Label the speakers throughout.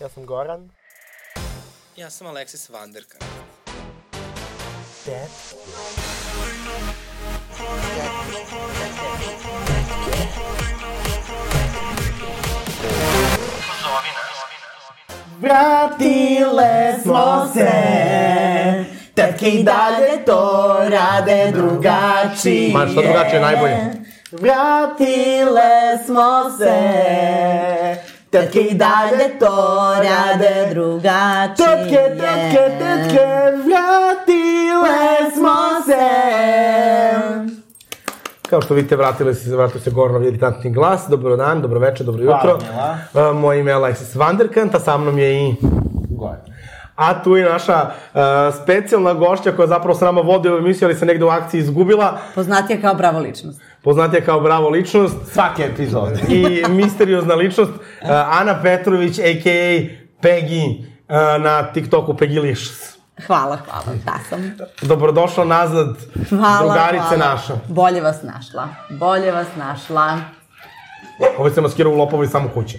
Speaker 1: Ja sam Goran.
Speaker 2: Ja sam Alexis Vanderka.
Speaker 1: Dead.
Speaker 3: Vratile smo se Tetke i dalje to rade drugačije
Speaker 1: Ma, što drugačije, najbolje.
Speaker 3: Vratile smo se Tetke i dalje to rade drugačije
Speaker 1: Tetke, tetke, tetke,
Speaker 3: Vratile smo se
Speaker 1: Kao što vidite, vratili se, vratili se Goranov iritantni glas. Dobro dan, dobro večer, dobro jutro.
Speaker 3: Mila.
Speaker 1: Hvala, Moje ime je Alexis Vanderkant, a sa mnom je i... Goran. A tu je naša uh, specijalna gošća koja zapravo sa nama vodi ovu emisiju, ali se negde u akciji izgubila.
Speaker 4: Poznatija kao bravo ličnost.
Speaker 1: Poznatija kao bravo ličnost
Speaker 3: Svake epizode.
Speaker 1: i misteriozna ličnost uh, Ana Petrović, a.k.a. Peggy uh, na TikToku Pegilicious.
Speaker 4: Hvala, hvala, da sam.
Speaker 1: Dobrodošla nazad,
Speaker 4: Hvala,
Speaker 1: drugarice
Speaker 4: hvala.
Speaker 1: naša.
Speaker 4: Bolje vas našla. Bolje vas našla.
Speaker 1: Ovo Ovaj se maskirao u lopovo i samo kuće.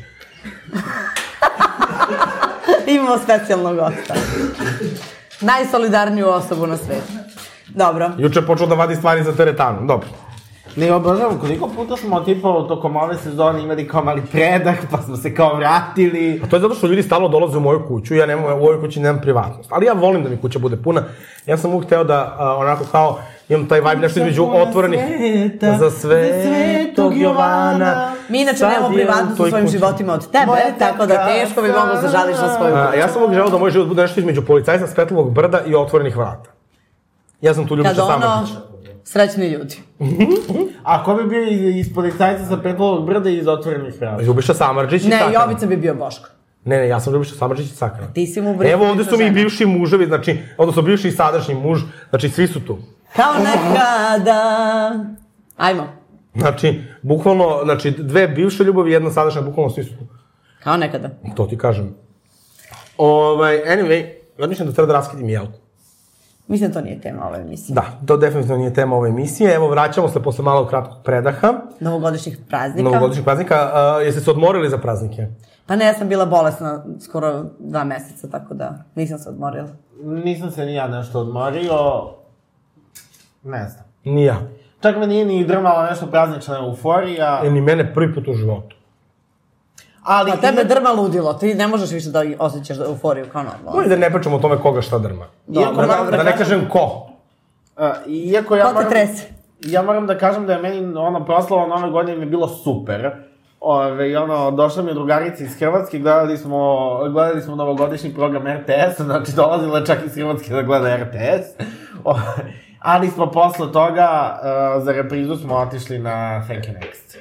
Speaker 4: Imamo specijalnog gosta. Najsolidarniju osobu na svetu. Dobro.
Speaker 1: Juče je počeo da vadi stvari za teretanu, dobro.
Speaker 3: Ne obožavam koliko puta smo tipa tokom ove sezone imali kao mali predah, pa smo se kao vratili.
Speaker 1: A to je zato što ljudi stalno dolaze u moju kuću, ja nemam, u ovoj kući nemam privatnost. Ali ja volim da mi kuća bude puna. Ja sam uvijek hteo da, a, onako kao, imam taj vibe nešto između
Speaker 3: Puna
Speaker 1: otvorenih...
Speaker 3: sveta,
Speaker 1: za svetog Jovana.
Speaker 4: Mi inače
Speaker 1: sad
Speaker 4: nemamo
Speaker 1: je u
Speaker 4: privatnost u
Speaker 1: toj
Speaker 4: svojim
Speaker 1: kući.
Speaker 4: životima od tebe,
Speaker 3: Moja
Speaker 4: tako da
Speaker 3: taka
Speaker 4: teško bi mogao zažališ na svoju
Speaker 1: A,
Speaker 4: kuću.
Speaker 1: ja sam uvijek želeo da moj život bude nešto između policajca, svetlovog brda i otvorenih vrata. Ja sam tu ljubiša
Speaker 4: Kad
Speaker 1: sama.
Speaker 4: ono, srećni ljudi.
Speaker 1: Znači,
Speaker 3: A ko bi bio iz, iz policajca sa petlovog brda i iz otvorenih hrana?
Speaker 1: Ljubiša Samarđić i
Speaker 4: Ne,
Speaker 1: Sakana.
Speaker 4: Jovica bi bio Boško.
Speaker 1: Ne, ne, ja sam Ljubiša Samarđić i Sakana.
Speaker 4: Ti si mu bre.
Speaker 1: Evo ovde su mi i
Speaker 4: žena.
Speaker 1: bivši muževi, znači, odnosno bivši i sadašnji muž, znači svi su tu.
Speaker 4: Kao nekada. Ajmo.
Speaker 1: Znači, bukvalno, znači, dve bivše ljubavi, jedna sadašnja, bukvalno svi su tu.
Speaker 4: Kao nekada.
Speaker 1: To ti kažem. Ovaj, anyway, odmišljam da treba da raskidim jelku.
Speaker 4: Mislim, da to nije tema ove emisije.
Speaker 1: Da, to definitivno nije tema ove emisije. Evo, vraćamo se posle malo kratkog predaha,
Speaker 4: Novogodišnjih praznika.
Speaker 1: novogodišnjih praznika. A, jeste se odmorili za praznike?
Speaker 4: Pa ne, ja sam bila bolesna skoro dva meseca, tako da nisam se odmorila.
Speaker 3: Nisam se ni ja nešto odmorio. Ne znam.
Speaker 1: Nija.
Speaker 3: Čak me nije ni drmala nešto praznična euforija.
Speaker 1: E, ni mene prvi put u životu.
Speaker 3: Ali
Speaker 4: Pa tebe drma ludilo, ti ne možeš više da osjećaš euforiju kao normalno.
Speaker 1: Bolje da ne pričamo o tome koga šta drma.
Speaker 3: Iako
Speaker 1: Da,
Speaker 3: moram
Speaker 1: da,
Speaker 3: da
Speaker 1: da ne
Speaker 3: kažem-
Speaker 1: kažem ko.
Speaker 3: A, iako ja
Speaker 4: Ko te
Speaker 3: moram,
Speaker 4: trese?
Speaker 3: Ja moram da kažem da je meni ono proslava nove godine mi je bilo super. Ove, i ono, došla mi je drugarica iz Hrvatske, gledali smo, gledali smo novogodišnji program RTS, znači dolazila je čak iz Hrvatske da gleda RTS. O, ali smo posle toga, uh, za reprizu smo otišli na Thank You Next.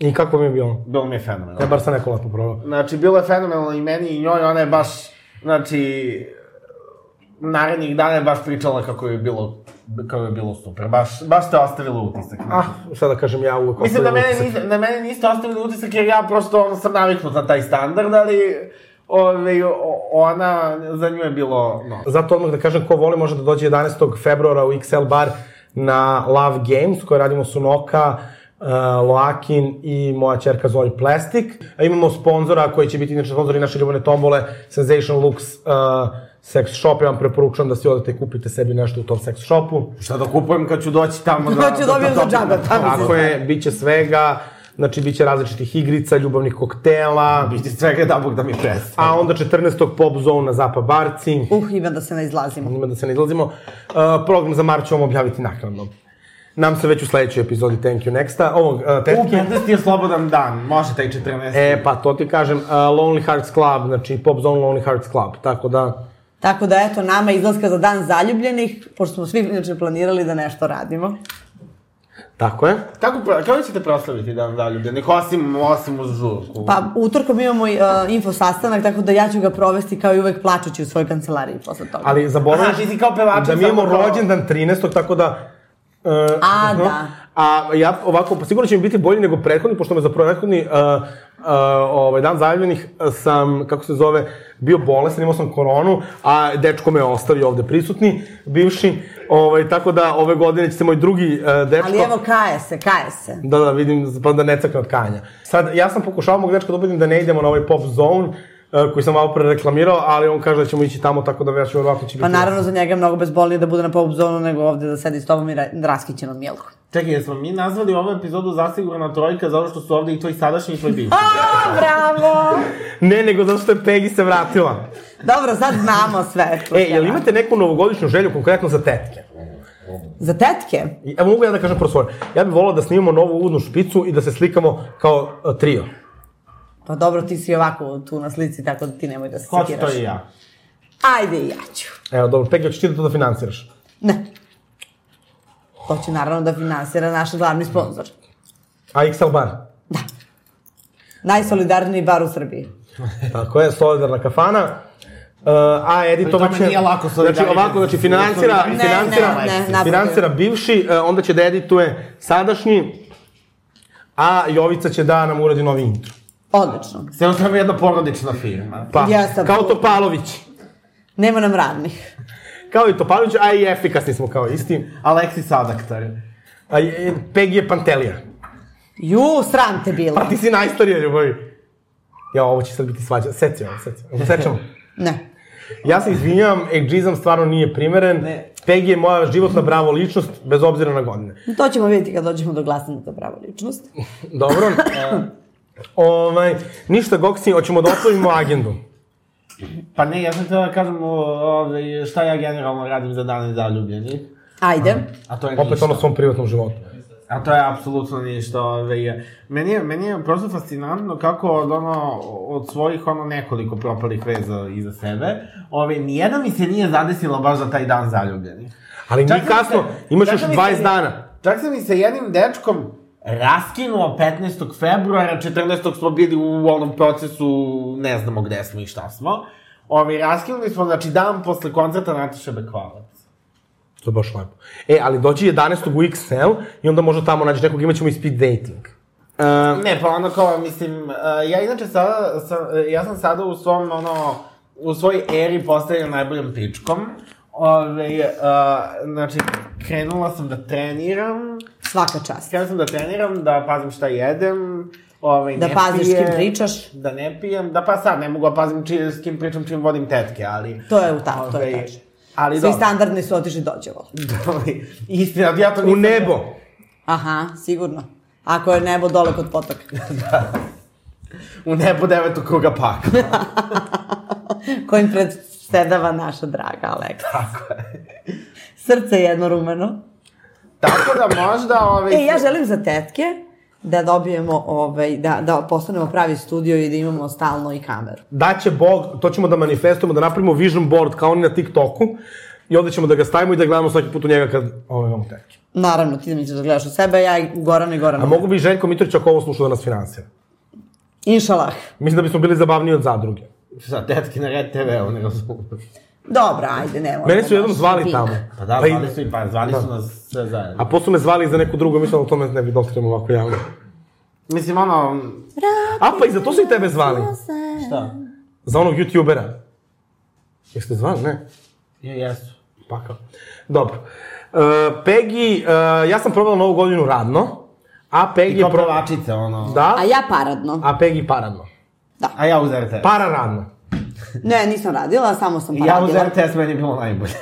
Speaker 1: I kako mi je bilo?
Speaker 3: Bilo mi je
Speaker 1: Ja
Speaker 3: fenomenalno.
Speaker 1: bar sam neko latno probao.
Speaker 3: Znači, bilo je fenomenalno i meni i njoj, ona je baš, znači, narednih dana je baš pričala kako je bilo, kako je bilo super. Baš, baš te ostavilo utisak. Znači,
Speaker 1: Ah, šta da kažem, ja uvek
Speaker 3: Mislim, na
Speaker 1: ostavim
Speaker 3: mene,
Speaker 1: utisak.
Speaker 3: niste, na mene niste ostavili utisak jer ja prosto ono, sam naviknut na taj standard, ali ove, o- ona, za nju je bilo, no.
Speaker 1: Zato odmah da kažem ko voli može da dođe 11. februara u XL bar na Love Games koje radimo Sunoka, uh, Loakin i moja čerka Zoli Plastic. A imamo sponzora koji će biti inače sponzori naše ljubavne tombole Sensation Lux uh, sex shop. Ja vam preporučujem da si odete i kupite sebi nešto u tom sex shopu.
Speaker 3: Šta da kupujem kad ću doći tamo da...
Speaker 4: Kad ću dobijem za džaba, tamo
Speaker 1: Tako je, bit će svega, znači bit će različitih igrica, ljubavnih koktela,
Speaker 3: Biti svega da Bog da mi prestane.
Speaker 1: a onda 14. Pop Zone na Zapa Barci.
Speaker 4: Uh, ima da se ne izlazimo.
Speaker 1: njima da se ne izlazimo. Uh, program za Marć ćemo objaviti naknadno. Nam se već u sledećoj epizodi Thank You Nexta, ovog uh,
Speaker 3: U
Speaker 1: tetke.
Speaker 3: 15. je slobodan dan, može taj 14.
Speaker 1: E, pa to ti kažem, uh, Lonely Hearts Club, znači Pop Zone Lonely Hearts Club, tako da...
Speaker 4: Tako da, eto, nama izlaska za dan zaljubljenih, pošto smo svi inače planirali da nešto radimo.
Speaker 1: Tako je.
Speaker 3: Kako, pro- kako ćete proslaviti dan zaljubljenih, osim, osim uz žurku?
Speaker 4: Pa, utorkom imamo uh, info sastanak, tako da ja ću ga provesti kao i uvek plačući u svojoj kancelariji posle toga.
Speaker 1: Ali zaboravim
Speaker 3: Aha, ti si kao pevačica,
Speaker 1: da mi imamo
Speaker 3: samo kao-
Speaker 1: rođendan 13. tako da... Uh,
Speaker 4: A, da.
Speaker 1: A ja ovako, pa sigurno će mi biti bolji nego prethodni, pošto me za prethodni uh, uh, ovaj, dan zajavljenih uh, sam, kako se zove, bio bolestan, imao sam koronu, a dečko me je ostavio ovde prisutni, bivši, ovaj, tako da ove godine će se moj drugi uh, dečko...
Speaker 4: Ali evo, kaje se, kaje se.
Speaker 1: Da, da, vidim, pa da ne crkne od kanja. Sad, ja sam pokušavao mog dečka da ubedim da ne idemo na ovaj pop zone, e, koji sam malo pre reklamirao, ali on kaže da ćemo ići tamo, tako da ja ću verovatno će biti...
Speaker 4: Pa naravno za njega je mnogo bezbolnije da bude na pop zonu nego ovde da sedi s tobom i ra- raskićenom jelku.
Speaker 3: Čekaj, jesmo mi nazvali ovu epizodu zasigurna trojka zato što su ovde i tvoj sadašnji i tvoj bivši?
Speaker 4: A, bravo!
Speaker 1: Ne, nego zato što je Peggy se vratila.
Speaker 4: Dobro, sad znamo sve.
Speaker 1: E, jel imate neku novogodišnju želju konkretno za tetke?
Speaker 4: Za tetke?
Speaker 1: I- Evo mogu ja da kažem prvo svoje. Ja bih volao da snimamo novu uvodnu špicu i da se slikamo kao e, trio.
Speaker 4: Pa dobro, ti si ovako tu na slici, tako da ti nemoj da se
Speaker 3: Hoću
Speaker 4: sekiraš.
Speaker 3: to i ja.
Speaker 4: Ajde, i ja ću.
Speaker 1: Evo, dobro, Peggy, hoćeš ti da to da finansiraš?
Speaker 4: Ne. To će naravno da finansira naš glavni sponsor.
Speaker 1: A XL bar.
Speaker 4: Najsolidarniji bar u Srbiji.
Speaker 1: Tako je, solidarna kafana. Uh, a Edi
Speaker 3: tome
Speaker 1: Tomac je...
Speaker 3: nije lako
Speaker 1: znači,
Speaker 3: solidarni-
Speaker 1: ovako, znači, financira,
Speaker 3: solidarni-
Speaker 4: Ne,
Speaker 1: financira,
Speaker 4: ne, ne, naprotiv.
Speaker 1: financira bivši, uh, onda će da edituje sadašnji, a Jovica će da nam uradi novi intro.
Speaker 4: Odlično.
Speaker 3: Sve u svemu jedna porodična firma.
Speaker 1: Pa,
Speaker 4: Ja sam-
Speaker 1: kao Topalović.
Speaker 4: Nema nam radnih.
Speaker 1: Kao i Topalović, a i efikasni smo kao isti.
Speaker 3: Aleksis
Speaker 1: Pa,
Speaker 3: Adaktar.
Speaker 1: A, i- i Peggy je Pantelija.
Speaker 4: Ju, sram te bilo.
Speaker 1: Pa ti si najstarija ljubavi. Ja, ovo će sad biti svađa. Seci ovo, seci. Ovo Sečemo.
Speaker 4: Ne.
Speaker 1: Ja se izvinjavam, egzizam stvarno nije primeren.
Speaker 3: Ne.
Speaker 1: Peggy je moja životna bravo ličnost, bez obzira na godine.
Speaker 4: To ćemo vidjeti kad dođemo do glasanja za pravo ličnost.
Speaker 1: Dobro. E, ovaj, ništa, Goksi, hoćemo da otvorimo agendu.
Speaker 3: Pa ne, ja sam htio da kažem o, ove, šta ja generalno radim za dane zaljubljenih.
Speaker 4: Ajde.
Speaker 3: A to je
Speaker 1: Opet
Speaker 3: ništa.
Speaker 1: ono u svom privatnom životu.
Speaker 3: A to je apsolutno ništa. Ove, meni, je, meni je prosto fascinantno kako od, ono, od svojih ono nekoliko propalih veza iza sebe, ove, nijedna mi se nije zadesila baš za taj dan zaljubljenih.
Speaker 1: Ali
Speaker 3: Čak
Speaker 1: nije
Speaker 3: sam
Speaker 1: kasno,
Speaker 3: se-
Speaker 1: imaš
Speaker 3: čak
Speaker 1: još
Speaker 3: sam i
Speaker 1: 20
Speaker 3: se-
Speaker 1: dana.
Speaker 3: Čak sam i sa jednim dečkom raskinuo 15. februara, 14. smo bili u onom procesu, ne znamo gde smo i šta smo. Ovi, raskinuli smo, znači, dan posle koncerta Nataše Bekvalac.
Speaker 1: E, To je baš lepo. E, ali dođi 11. u XL i onda možda tamo nađeš nekog, imat ćemo i speed dating. E,
Speaker 3: Ne, pa ono kao, mislim, eh, ja inače sada, sa, eh, ja sam sada u svom, ono, u svoj eri postavljena najboljom pičkom. Ove, uh, znači, krenula sam da treniram,
Speaker 4: Svaka čast.
Speaker 3: Htio sam da treniram, da pazim šta jedem, ovaj,
Speaker 4: Da
Speaker 3: ne
Speaker 4: paziš s
Speaker 3: pijem,
Speaker 4: kim pričaš.
Speaker 3: Da ne pijem, da pa sad ne mogu da pazim či, s kim pričam čim vodim tetke, ali...
Speaker 4: To je u ta- to je
Speaker 3: Ovaj,
Speaker 4: tačno.
Speaker 3: Ali
Speaker 4: Svi
Speaker 3: dobro.
Speaker 4: standardni su otišli dođevo.
Speaker 3: Ali, Istina, ja to
Speaker 1: u
Speaker 3: nisam...
Speaker 1: nebo.
Speaker 4: Aha, sigurno. Ako je nebo dole kod potoka.
Speaker 3: U nebo devetog kruga pak.
Speaker 4: Kojim predsedava naša draga Aleksa. Tako je. Srce jedno rumeno.
Speaker 3: Tako da možda... Ovaj,
Speaker 4: E, ja želim za tetke da dobijemo, ovaj, da, da postanemo pravi studio i da imamo stalno i kameru.
Speaker 1: Daće Bog, to ćemo da manifestujemo, da napravimo vision board kao oni na TikToku i onda ćemo da ga stavimo i da gledamo svaki put u njega kad ovaj, imamo tetke.
Speaker 4: Naravno, ti mi ćeš da gledaš u sebe, ja i Goran i Goran.
Speaker 1: A mogu bi i Željko Mitrović ako ovo sluša da nas finansira.
Speaker 4: Inšalah.
Speaker 1: Mislim da bismo bili zabavniji od zadruge.
Speaker 3: Šta, tetke na Red TV, on ne razumije.
Speaker 4: Dobra, ajde, ne moramo.
Speaker 1: Mene su jednom
Speaker 4: baš
Speaker 1: zvali
Speaker 4: pink.
Speaker 1: tamo.
Speaker 3: Pa da,
Speaker 1: i-
Speaker 3: zvali su i pa, zvali su nas sve zajedno.
Speaker 1: A posle me zvali za neku drugu, mislim da o tome ne bi dotkrijemo ovako javno.
Speaker 3: Mislim, ono...
Speaker 1: A pa i za to su i tebe zvali.
Speaker 3: Šta?
Speaker 1: Za onog youtubera. Jeste zvali, ne?
Speaker 3: Je, jesu.
Speaker 1: Pakao. Dobro. Uh, Peggy, uh, ja sam probala novu godinu radno, a Peggy
Speaker 3: I to
Speaker 1: je pro...
Speaker 3: provačice, ono...
Speaker 1: Da,
Speaker 4: A ja paradno.
Speaker 1: a Peggy paradno.
Speaker 3: A ja uz RTS.
Speaker 1: Para radno.
Speaker 4: Ne, nisam radila, samo sam
Speaker 3: Pa, ja uz
Speaker 4: paradila.
Speaker 3: RTS meni je bilo najbolje.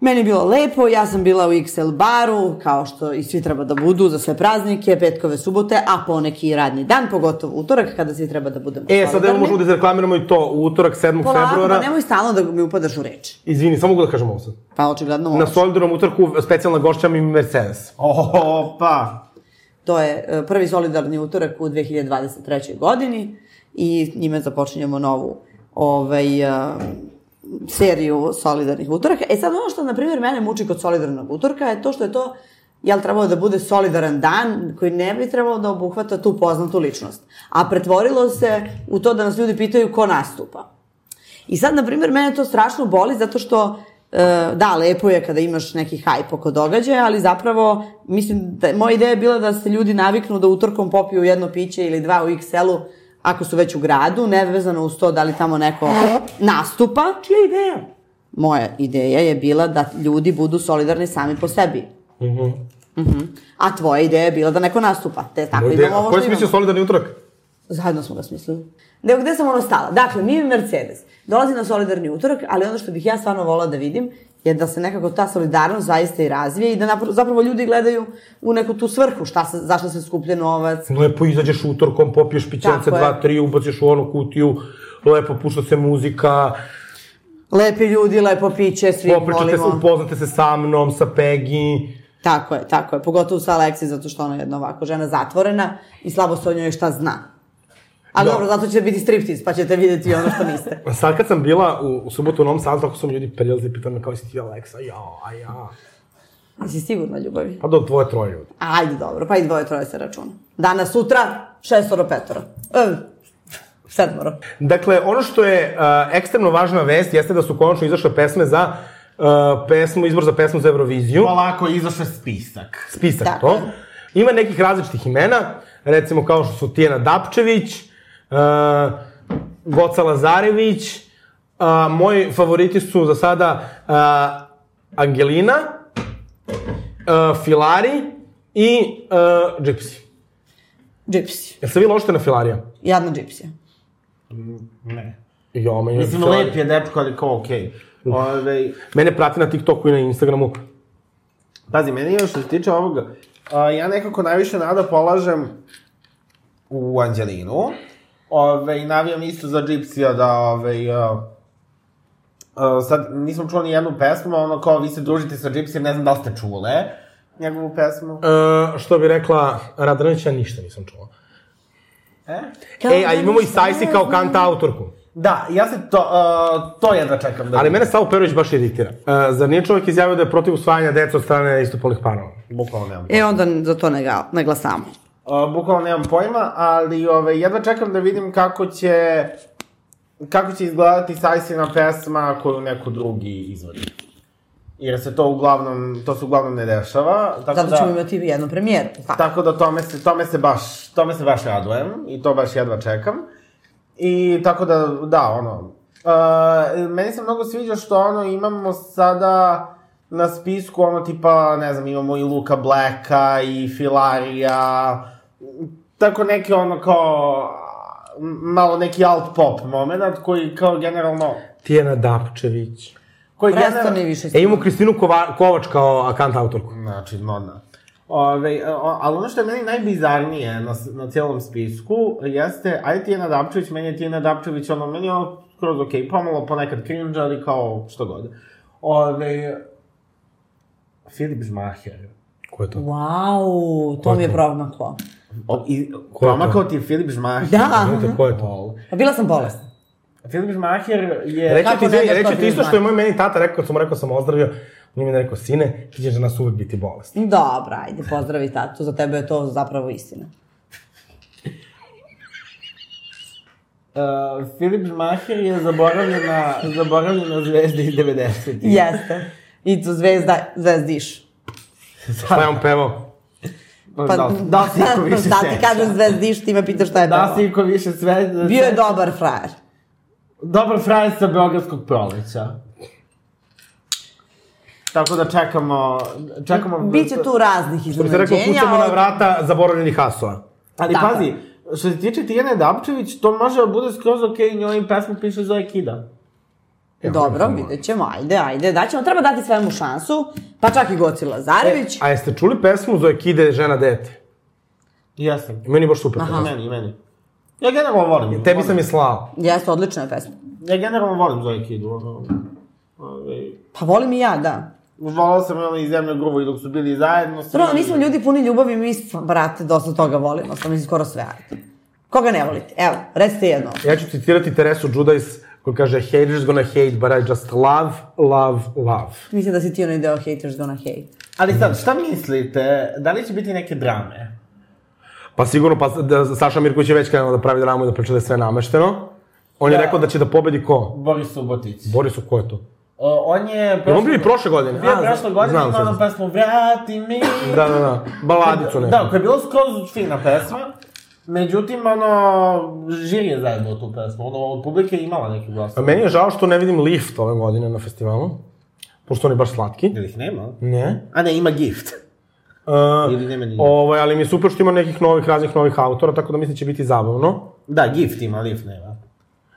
Speaker 4: Meni je bilo lepo, ja sam bila u XL baru, kao što i svi treba da budu za sve praznike, petkove, subote, a poneki i radni dan, pogotovo utorak kada svi treba da budemo
Speaker 1: E, sad evo
Speaker 4: solidarni.
Speaker 1: možemo da reklamiramo i to u utorak 7.
Speaker 4: Polako,
Speaker 1: februara.
Speaker 4: pa nemoj stalno da mi upadaš u reč.
Speaker 1: Izvini, samo mogu da kažem ovo sad.
Speaker 4: Pa očigledno
Speaker 1: Na
Speaker 4: moraš.
Speaker 1: solidarnom utorku specijalna gošća mi Mercedes.
Speaker 3: Opa!
Speaker 4: To je e, prvi solidarni utorak u 2023. godini i njime započinjemo novu ovaj, e, seriju solidarnih utoraka. E sad ono što, na primjer, mene muči kod solidarnog utorka je to što je to jel trebalo da bude solidaran dan koji ne bi trebalo da obuhvata tu poznatu ličnost. A pretvorilo se u to da nas ljudi pitaju ko nastupa. I sad, na primjer, mene to strašno boli zato što, e, da, lepo je kada imaš neki hajp oko događaja, ali zapravo, mislim, da, moja ideja je bila da se ljudi naviknu da utorkom popiju jedno piće ili dva u XL-u, ako su već u gradu, nevezano uz to da li tamo neko nastupa. Čija ideja? Moja ideja je bila da ljudi budu solidarni sami po sebi. Mhm. Mhm. A tvoja ideja je bila da neko nastupa. Te tako
Speaker 1: Moja ideja-
Speaker 4: imamo ovo
Speaker 1: Koji
Speaker 4: što
Speaker 1: si mislio
Speaker 4: imamo.
Speaker 1: solidarni utorak?
Speaker 4: Zajedno smo ga smislili. Nego gde sam ono stala? Dakle, mi Mercedes. Dolazi na solidarni utorak, ali ono što bih ja stvarno volila da vidim je da se nekako ta solidarnost zaista i razvije i da napra- zapravo ljudi gledaju u neku tu svrhu, šta se, zašto se skuplja novac,
Speaker 1: Lepo izađeš utorkom, popiješ pićence
Speaker 4: Tako je.
Speaker 1: 2, 3, ubaciš u onu kutiju, lepo pušta se muzika,
Speaker 4: lepi ljudi, lepo piće, svi
Speaker 1: popričate se,
Speaker 4: volimo.
Speaker 1: upoznate se sa mnom, sa Peggy.
Speaker 4: Tako je, tako je. Pogotovo sa Aleksi, zato što ona je jedna ovako žena zatvorena i slabo se o njoj šta zna. Ali
Speaker 1: Da.
Speaker 4: dobro, zato će biti striptiz, pa ćete videti ono što niste.
Speaker 1: Sad kad sam bila u, u subotu u Novom Sadu, tako su mi ljudi prelazili, pitali me kao si ti Aleksa, ja, a ja.
Speaker 4: Jesi sigurna ljubavi?
Speaker 1: Pa do tvoje troje ljudi.
Speaker 4: Ajde, dobro, pa i dvoje troje se računa. Danas, sutra, šestoro, petoro. E, sedmoro.
Speaker 1: Dakle, ono što je uh, ekstremno važna vest jeste da su konačno izašle pesme za uh, pesmu, izbor za pesmu za Euroviziju.
Speaker 5: Polako je izašao spisak.
Speaker 1: Spisak
Speaker 4: Tako
Speaker 1: to.
Speaker 4: je.
Speaker 1: Ima nekih različitih imena, recimo kao što su Tijena Dapčević, uh, Goca Lazarević, uh, moji favoriti su za sada uh, Angelina, uh, Filari i uh, Gypsy.
Speaker 4: Džipsi.
Speaker 1: Jel se vi ložite na Filarija?
Speaker 4: Jadna džipsija.
Speaker 5: Ne.
Speaker 1: Jo, meni je
Speaker 5: Mislim,
Speaker 1: Filari-
Speaker 5: lep je dečko, ali kao okej. Ove,
Speaker 1: Mene prati na TikToku i na Instagramu.
Speaker 5: pazi, meni je što se tiče ovoga, a, ja nekako najviše nada polažem u Anđelinu. Ove, i navijam isto za Gypsija da, ove, a, a, sad nisam čuo ni jednu pesmu, ono kao vi se družite sa Gypsijem, ne znam da li ste čule njegovu pesmu.
Speaker 1: E, što bi rekla Radrnić, ja ništa nisam čuo.
Speaker 5: E?
Speaker 4: Da,
Speaker 1: Ej, a imamo i Sajsi kao kanta autorku.
Speaker 5: Da, ja se to, a, to jedva čekam da
Speaker 1: Ali
Speaker 5: vidim.
Speaker 1: mene Savo Perović baš iritira. E, zar nije čovjek izjavio da je protiv usvajanja deca od strane istopolnih parova?
Speaker 5: Bukvalno nemam
Speaker 4: E, onda za to ne, ga, ne glasamo.
Speaker 5: A, bukvalno nemam pojma, ali ove, jedva čekam da vidim kako će kako će izgledati Sajsina pesma koju neko drugi izvodi. Jer se to uglavnom, to se uglavnom ne dešava, tako
Speaker 4: Zato ćemo
Speaker 5: da,
Speaker 4: imati jednu premijeru. Pa.
Speaker 5: tako da tome se, tome se baš, tome se baš radujem i to baš jedva čekam. I tako da, da, ono, uh, meni se mnogo sviđa što ono imamo sada na spisku ono tipa, ne znam, imamo i Luka Blacka i Filarija, tako neki ono kao m- malo neki alt pop moment koji kao generalno
Speaker 1: Tijena Dapčević.
Speaker 5: koji
Speaker 4: Prestani više. s
Speaker 1: E,
Speaker 4: tim.
Speaker 1: imamo Kristinu Kova, Kovač kao kanta autorku.
Speaker 5: Znači, modna. Ove, o, ali ono što je meni najbizarnije na, s- na cijelom spisku jeste, ajde Tijena Dapčević, meni je Tijena Dapčević, ono, meni je ono skroz okej, pomalo ponekad cringe, ali kao što god. Ove, Filip Žmaher.
Speaker 1: Ko je to?
Speaker 4: Wow, to
Speaker 1: Ko
Speaker 4: mi je
Speaker 1: to?
Speaker 4: promaklo.
Speaker 5: O, i,
Speaker 1: Ko je to?
Speaker 5: promakao ti je Filip Žmaher.
Speaker 4: Da, aha.
Speaker 1: Znate, ko je to?
Speaker 5: Lol.
Speaker 4: Pa bila sam bolesna.
Speaker 5: Filip Žmaher je...
Speaker 1: E, Reći
Speaker 4: Kako
Speaker 1: ti,
Speaker 4: ne znaš
Speaker 1: reći
Speaker 4: ko
Speaker 1: ti
Speaker 4: ti
Speaker 1: isto
Speaker 4: znaš?
Speaker 1: što je moj meni tata rekao, kad sam mu rekao sam ozdravio, on mi je rekao, sine, ti ćeš za nas uvek biti bolest.
Speaker 4: Dobra, ajde, pozdravi tatu, za tebe je to zapravo istina.
Speaker 5: Uh, Filip Žmaher je zaboravljena, zaboravljena zvezda iz 90-ih.
Speaker 4: Jeste. I tu zvezda, zvezdiš.
Speaker 1: Šta je on pevao?
Speaker 5: Pa, da, da si iko više
Speaker 4: da ti
Speaker 5: seća.
Speaker 4: kažem zvezdiš, ti me pitaš šta je
Speaker 5: Da
Speaker 4: da
Speaker 5: si iko više sve...
Speaker 4: Bio je dobar frajer.
Speaker 5: Dobar frajer sa Beogradskog proleća. Tako da čekamo... čekamo
Speaker 4: Biće tu raznih
Speaker 1: Što bi se rekao,
Speaker 4: iznenađenja.
Speaker 1: kucamo na
Speaker 4: ali-
Speaker 1: vrata zaboravljenih hasova.
Speaker 5: Ali
Speaker 4: Tako.
Speaker 5: pazi, što se tiče Tijene Dapčević, to može da bude skroz okej, okay, njoj pesmu piše Zoe Kida.
Speaker 4: Dobro, vidjet ćemo, ajde, ajde, daćemo. Treba dati svemu šansu, pa čak i Goci Lazarević.
Speaker 1: E, A jeste čuli pesmu Zoe Kide, žena dete?
Speaker 5: Jesam.
Speaker 1: Meni je baš super.
Speaker 4: Aha.
Speaker 1: pesma.
Speaker 5: I meni, i meni. Ja generalno volim.
Speaker 1: Tebi
Speaker 5: volim.
Speaker 1: sam je slao.
Speaker 4: Jeste, odlična je pesma.
Speaker 5: Ja generalno volim Zoe Kidu. ono, ovaj,
Speaker 4: Pa volim i ja, da.
Speaker 5: Volao sam i ono iz zemlje gruvo i dok su bili zajedno. sam-
Speaker 4: Prvo,
Speaker 1: Mm.
Speaker 4: mi smo ljudi puni ljubavi, mi, smo, brate, dosta toga volimo, sam mislim skoro sve. Koga ne volite? Evo, recite jedno.
Speaker 1: Ja ću citirati Teresu Judice koja kaže Haters gonna hate, but I just love, love, love.
Speaker 4: Mislim da si ti onaj deo haters gonna hate.
Speaker 5: Ali sad, šta mislite? Da li će biti neke drame?
Speaker 1: Pa sigurno, pa da, Saša Mirković je već krenuo da pravi dramu i da priča da je sve namešteno. On je
Speaker 5: Da.
Speaker 1: rekao da će da pobedi ko?
Speaker 5: Boris Subotić.
Speaker 1: Borisu, ko je to?
Speaker 5: O, on je...
Speaker 1: Je on bio i prošle godine?
Speaker 5: Bio je
Speaker 1: A,
Speaker 5: prošle godine,
Speaker 1: znam
Speaker 5: ima
Speaker 1: sad.
Speaker 5: ono pesmu Vrati mi...
Speaker 1: Da, da, da. Baladicu neku.
Speaker 5: Da, koja je bila skroz fina pesma. Međutim, ono, žiri je zajebao tu pesmu. Ono, od publike je imala neki glas.
Speaker 1: A Meni je žao što ne vidim lift ove godine na festivalu. Pošto on je baš slatki.
Speaker 5: Ili ih nema?
Speaker 1: Ne.
Speaker 5: A ne, ima gift.
Speaker 1: Uh,
Speaker 5: Ili nema ni...
Speaker 1: ovaj, ali mi je super što ima nekih novih, raznih novih autora, tako da mislim će da biti zabavno.
Speaker 5: Da, gift ima, lift nema.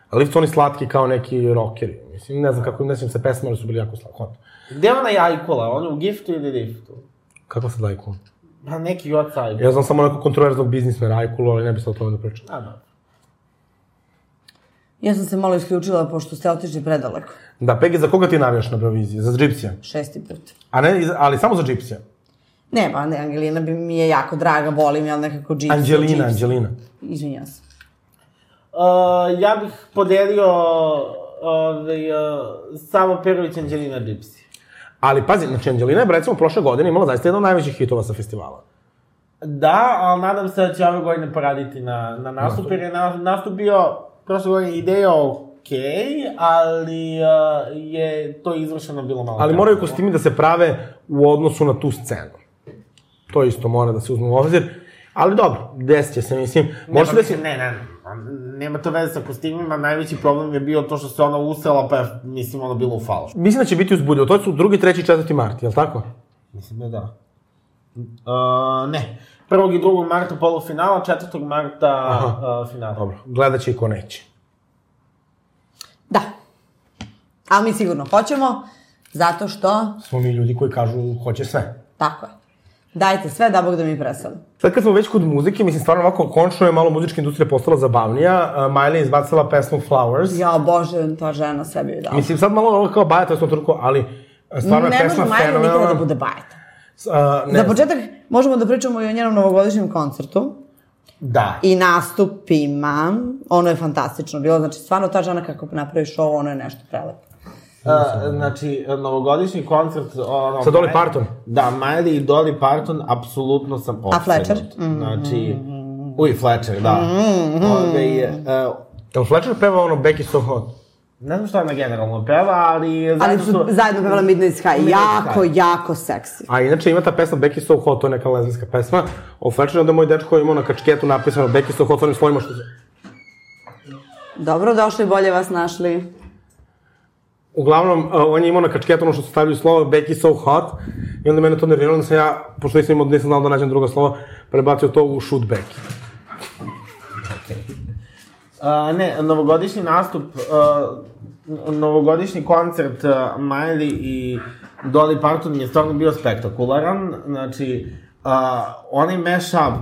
Speaker 1: Ali su oni slatki kao neki rockeri. Mislim, ne znam kako, ne sjećam se pesma, ali su bili jako slatki.
Speaker 5: Gde je ona jajkula? On je u giftu ili liftu?
Speaker 1: Kako se lajku?
Speaker 5: Pa neki oca ajkula.
Speaker 1: Ja znam samo nekog kontroverznog biznismena Ajkulu, ali ne bi se o tome da pričam.
Speaker 5: A, da.
Speaker 4: Ja sam se malo isključila pošto ste otišli predaleko.
Speaker 1: Da, Pegi, za koga ti navijaš na Euroviziji? Za Gypsija?
Speaker 4: Šesti put.
Speaker 1: A ne, i za- ali samo za Gypsija.
Speaker 4: Ne, pa ne, Angelina bi mi je jako draga, volim, ja nekako džips.
Speaker 1: Anđelina, Anđelina.
Speaker 4: Izvinjam se.
Speaker 5: Uh, ja bih podelio ovaj, uh, Savo Perović Anđelina Dipsi.
Speaker 1: Ali pazi, znači Anđelina je recimo prošle godine imala zaista jedan od najvećih hitova sa festivala.
Speaker 5: Da, ali nadam se da će ove godine poraditi na, na nastup, jer je na, nastup bio prošle godine ideja okej, ali uh, je to izvršeno bilo malo.
Speaker 1: Ali moraju kostimi da se prave u odnosu na tu scenu. To isto mora da se uzme u obzir. Ali dobro, desit će se, mislim. Može se
Speaker 5: Može da
Speaker 1: desiti...
Speaker 5: se... Ne, ne, ne, nema to veze sa kostimima, najveći problem je bio to što se ona usela, pa je, mislim, ono bilo u falšu.
Speaker 1: Mislim da će biti uzbudljivo. To su drugi, treći, četvrti mart, je li tako?
Speaker 5: Mislim da da. Uh, ne, 1. i 2. marta polufinala, 4. marta
Speaker 1: Aha.
Speaker 5: uh, finala.
Speaker 1: Dobro, gledat će i ko neće.
Speaker 4: Da. A mi sigurno hoćemo, zato što,
Speaker 1: Smo mi ljudi koji kažu hoće sve.
Speaker 4: tako je. Dajte sve, da Bog da mi presali.
Speaker 1: Sad kad smo već kod muzike, mislim stvarno ovako, končno je malo muzička industrija postala zabavnija. Uh, Miley je izbacila pesmu Flowers.
Speaker 4: Ja, bože, ta žena sebi je dala.
Speaker 1: Mislim, sad malo ovo kao baja, to je toliko, ali uh, stvarno je
Speaker 4: ne može
Speaker 1: pesma
Speaker 4: Majda nikada da
Speaker 1: fenomenalna.
Speaker 4: bude bajeta.
Speaker 1: S- a, ne
Speaker 4: Za
Speaker 1: znam.
Speaker 4: početak, možemo da pričamo i o njenom novogodišnjem koncertu
Speaker 5: Da.
Speaker 4: i nastupima. Ono je fantastično bilo, znači stvarno ta žena kako napravi show, ono je nešto prelepo.
Speaker 5: Uh, znači, novogodišnji koncert... Ono,
Speaker 1: da. Sa Dolly
Speaker 5: Miley-
Speaker 1: Parton?
Speaker 5: Da, Miley i Dolly Parton, apsolutno sam opsednut.
Speaker 4: Fletcher? Mm-hmm.
Speaker 5: Znači, uj, Fletcher, da. Ove, uh,
Speaker 1: Jel Fletcher peva ono Becky So Hot?
Speaker 5: ne znam šta ona generalno peva, ali...
Speaker 4: Ali
Speaker 5: zajedno
Speaker 4: su zajedno pevala Midnight Sky, jako, jako seksi.
Speaker 1: A inače ima ta pesma Becky So Hot, to je neka lezbijska pesma. O Fletcheru onda je moj dečko imao na kačketu napisano Becky So Hot, onim slovima što...
Speaker 4: Dobro došli, bolje vas našli.
Speaker 1: Uglavnom, a, on je imao na kačketu ono što su stavili slovo Becky So Hot i onda mene to nerviralo, onda sam ja, pošto nisam imao, nisam znao da nađem drugo slovo, prebacio to u Shoot Becky.
Speaker 5: A, ne, novogodišnji nastup, uh, novogodišnji koncert uh, Miley i Dolly Parton je stvarno bio spektakularan. Znači, uh, onaj mashup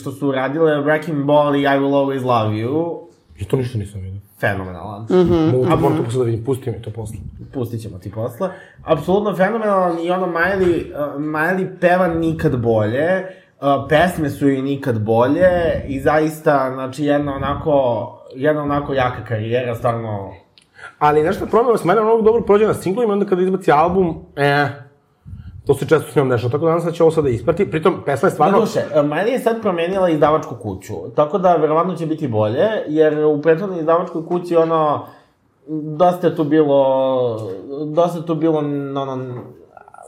Speaker 5: što su uradile Wrecking Ball i I Will Always Love You,
Speaker 1: I to ništa nisam vidio.
Speaker 5: fenomenalan.
Speaker 1: Mogu to moram to posle da vidim, pusti mi to posle.
Speaker 5: Pustit ćemo ti posle. Apsolutno fenomenalan i ono Miley, uh, Miley peva nikad bolje, uh, pesme su i nikad bolje i zaista, znači, jedna onako, jedna onako jaka karijera, stvarno
Speaker 1: Ali nešto promjela s mene, ono dobro prođe na singlu i onda kada izbaci album, eh, to se često s njom dešava. Tako da nadam se da će ovo sada isprati. Pritom, pesma je
Speaker 5: Pa
Speaker 1: stvarno...
Speaker 5: duše, Miley je sad promenila izdavačku kuću, tako da verovatno će biti bolje, jer u prethodnoj izdavačkoj kući ono, dosta je tu bilo, dosta je tu bilo, ono,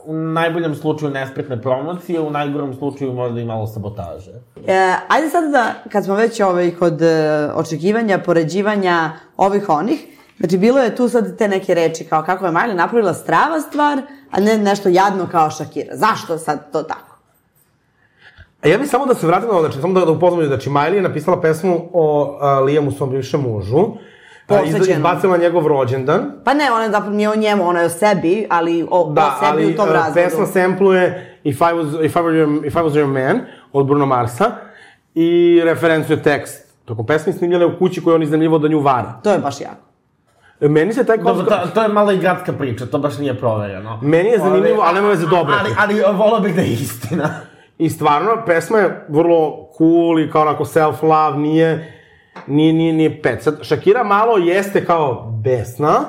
Speaker 5: u najboljem slučaju nespretne promocije, u najgorem slučaju možda i malo sabotaže.
Speaker 4: E, ajde sad da, kad smo već ovaj, kod e, očekivanja, poređivanja ovih onih, znači bilo je tu sad te neke reči kao kako je Miley napravila strava stvar, a ne nešto jadno kao Shakira. Zašto je sad to tako?
Speaker 1: A ja bih samo da se vratim na ovo, znači, samo da, da upoznam ljudi. Znači, Miley je napisala pesmu o a, Liamu, svom bivšem mužu. A, iz-
Speaker 4: Posvećeno.
Speaker 1: Izbacila njegov rođendan.
Speaker 4: Pa ne, ona zapravo nije o njemu, ona je o sebi, ali o,
Speaker 1: Da,
Speaker 4: o sebi
Speaker 1: ali
Speaker 4: u tom
Speaker 1: e,
Speaker 4: razvodu.
Speaker 1: pesma sempluje If I, was, if, I were your, if I was your man od Bruno Marsa i referencuje tekst. Tokom pesmi snimljena je u kući koju on iznajmljivao da nju vara.
Speaker 4: To je baš jako.
Speaker 1: E, Meni se taj
Speaker 5: Dobro,
Speaker 1: koncept...
Speaker 5: to, to je malo i gradska priča, to baš nije provereno.
Speaker 1: Meni je zanimljivo,
Speaker 5: Ove,
Speaker 1: ali nema veze dobro.
Speaker 5: Ali, ali volao bih da je istina.
Speaker 1: I stvarno, pesma je vrlo cool i kao onako self-love, nije, nije, nije, nije pet. Sad, Shakira malo jeste kao besna,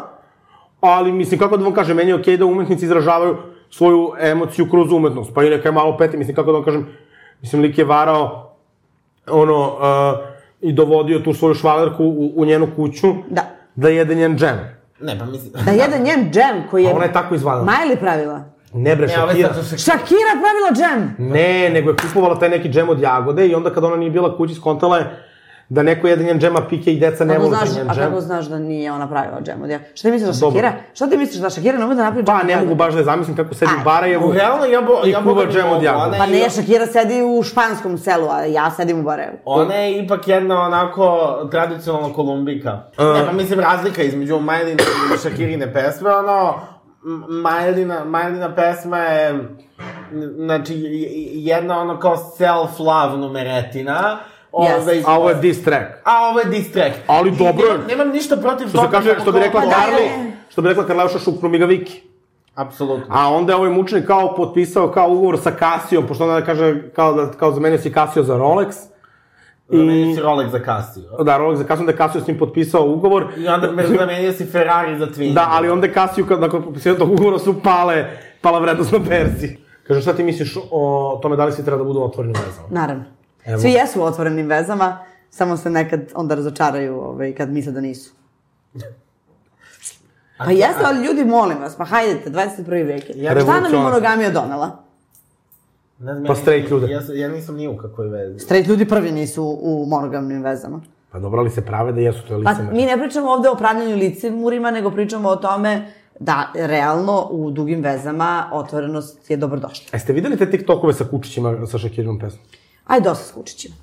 Speaker 1: ali mislim, kako da vam kažem, meni je okej da umetnici izražavaju svoju emociju kroz umetnost, pa i neka je malo peti, mislim, kako da vam kažem, mislim, lik je varao, ono, uh, i dovodio tu svoju švalerku u, u njenu kuću
Speaker 4: Da.
Speaker 1: da jede njen džem.
Speaker 5: Ne, pa mislim...
Speaker 4: Da jedan njen džem koji je...
Speaker 1: A ona je tako izvadila.
Speaker 4: Miley pravila.
Speaker 1: Ne bre,
Speaker 5: Ne, ove
Speaker 1: Shakira.
Speaker 5: sad su se
Speaker 4: Shakira pravila džem!
Speaker 1: Ne, nego je kupovala taj neki džem od jagode i onda kad ona nije bila kući, skontala je da neko jede njen džema pike i deca ne
Speaker 4: Kako
Speaker 1: vole
Speaker 4: znaš,
Speaker 1: njen
Speaker 4: a
Speaker 1: džem.
Speaker 4: kako znaš da nije ona pravila džem od jabuka? Šta ti misliš da
Speaker 1: Dobro.
Speaker 4: Shakira? Šta ti misliš da Shakira ne ume da napravi džem
Speaker 1: Pa
Speaker 4: od
Speaker 1: ne mogu
Speaker 4: jabuka?
Speaker 1: baš da je zamislim kako sedi u
Speaker 4: Aj.
Speaker 1: Barajevu
Speaker 5: Realno, ja bo-
Speaker 1: i
Speaker 5: ja
Speaker 1: kuva
Speaker 5: Boga mi
Speaker 1: džem od
Speaker 5: mogu,
Speaker 1: jabuka.
Speaker 5: ona
Speaker 4: Pa ne,
Speaker 5: i-
Speaker 4: Shakira sedi u španskom selu, a ja sedim u Barajevu.
Speaker 5: Ona je ipak jedna onako tradicionalna kolumbika. E, pa mislim razlika između Majline i Shakirine pesme, ono, M- Majlina, Majlina pesma je, n- znači, j- j- jedna ono kao self-love numeretina.
Speaker 4: Yes.
Speaker 5: Ove,
Speaker 1: A ovo je diss track.
Speaker 5: a ovo je diss track.
Speaker 1: Ali
Speaker 5: I
Speaker 1: dobro je.
Speaker 5: Nemam, nemam ništa protiv
Speaker 1: Što, se kaže,
Speaker 5: kako
Speaker 1: što bi
Speaker 5: kao-
Speaker 1: rekla
Speaker 4: Pa da,
Speaker 1: Karli,
Speaker 4: da, da.
Speaker 1: što bi rekla Karleuša, šupnu mi ga Viki.
Speaker 5: Apsolutno.
Speaker 1: A onda je ovaj mučenik kao potpisao kao ugovor sa Casijom, pošto onda kaže kao da kao zamenio si Casio za Rolex.
Speaker 5: I... Zamenio Da, si Rolex za Casio.
Speaker 1: Da, Rolex za Casio, onda je Casio s njim potpisao ugovor.
Speaker 5: I onda me zamenio si Ferrari za Twingo.
Speaker 1: Da, ali onda je Casio, kad, nakon potpisivanja tog ugovora, su pale, pala vrednost na berzi. Kaže, šta ti misliš o tome da li svi treba da budu otvoreni vezama?
Speaker 4: Naravno.
Speaker 1: Evo.
Speaker 4: Svi jesu u otvorenim vezama, samo se nekad onda razočaraju ovaj, kad misle da nisu. Pa jeste, ali ljudi, molim vas, pa hajdete, 21. vek. je. Šta nam je
Speaker 1: Revolucionarno.
Speaker 4: monogamija donela?
Speaker 5: Ne znam,
Speaker 1: Pa
Speaker 5: ja-
Speaker 1: straight ljude.
Speaker 5: Ja, ja nisam ni u kakvoj vezi.
Speaker 4: Straight ljudi prvi nisu u monogamnim vezama.
Speaker 1: Pa dobro, ali se prave da jesu, to je
Speaker 4: Pa
Speaker 1: licemer.
Speaker 4: mi ne pričamo ovde o pravljanju licemurima, nego pričamo o tome da realno u dugim vezama otvorenost je dobrodošla.
Speaker 1: A jeste videli te TikTokove sa kučićima, sa Shakirinom pesmom?
Speaker 4: Aj dosta s kučićima.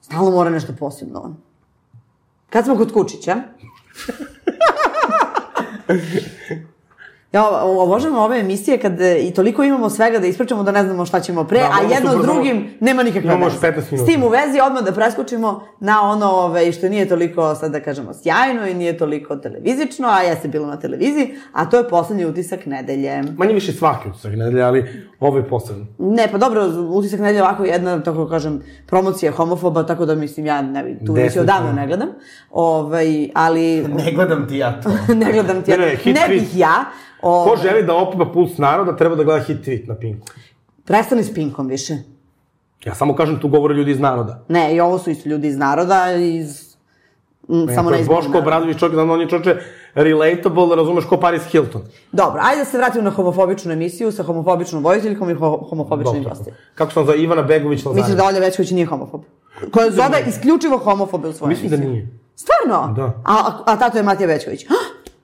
Speaker 4: Stalno mora nešto posebno on. Kad smo kod kučića... ja o- obožavam ove emisije kad e, i toliko imamo svega da ispričamo da ne znamo šta ćemo pre,
Speaker 1: Da,
Speaker 4: a
Speaker 1: ovo
Speaker 4: jedno
Speaker 1: super,
Speaker 4: s drugim nema nikakve
Speaker 1: Imamo još
Speaker 4: veze.
Speaker 1: 15 minuta.
Speaker 4: S tim u vezi odmah da preskočimo na ono ove, što nije toliko, sad da kažemo, sjajno i nije toliko televizično, a jeste bilo na televiziji, a to je poslednji utisak nedelje.
Speaker 1: Manje više svaki utisak nedelje, ali ovo je posebno.
Speaker 4: Ne, pa dobro, utisak nedelje ovako jedna, tako kažem, promocija homofoba, tako da mislim, ja ne, bi- tu već
Speaker 1: Definitivno.
Speaker 4: odavno ne gledam. Ovaj, ali
Speaker 5: Ne gledam ti ja to.
Speaker 4: ne gledam ti,
Speaker 1: Ne, ne,
Speaker 4: ne,
Speaker 1: hit tweet.
Speaker 4: bih ja.
Speaker 1: Ko
Speaker 4: Ovaj,
Speaker 1: želi da opipa puls naroda, treba da gleda hit tweet na Pinku.
Speaker 4: Prestani s Pinkom više.
Speaker 1: Ja samo kažem, tu govore ljudi iz naroda.
Speaker 4: Ne, i ovo su isto ljudi iz naroda, iz... Mm, samo
Speaker 1: Ako
Speaker 4: na
Speaker 1: je
Speaker 4: izboru
Speaker 1: Boško
Speaker 4: naroda.
Speaker 1: Obradović čovjek, znam da on je čovječe relatable, razumeš, ko Paris Hilton.
Speaker 4: Dobro, ajde da se vratimo na homofobičnu emisiju sa homofobičnom vojiteljkom i ho homofobičnim
Speaker 1: Doktorko.
Speaker 4: gostima.
Speaker 1: Kako sam za Ivana Begović Lazareva?
Speaker 4: Mislim da Olja Većković nije homofob. Koja zove isključivo homofobe u svojoj
Speaker 1: da Mislim da nije.
Speaker 4: Stvarno?
Speaker 1: Da.
Speaker 4: A, a, a tato je Matija Bećković.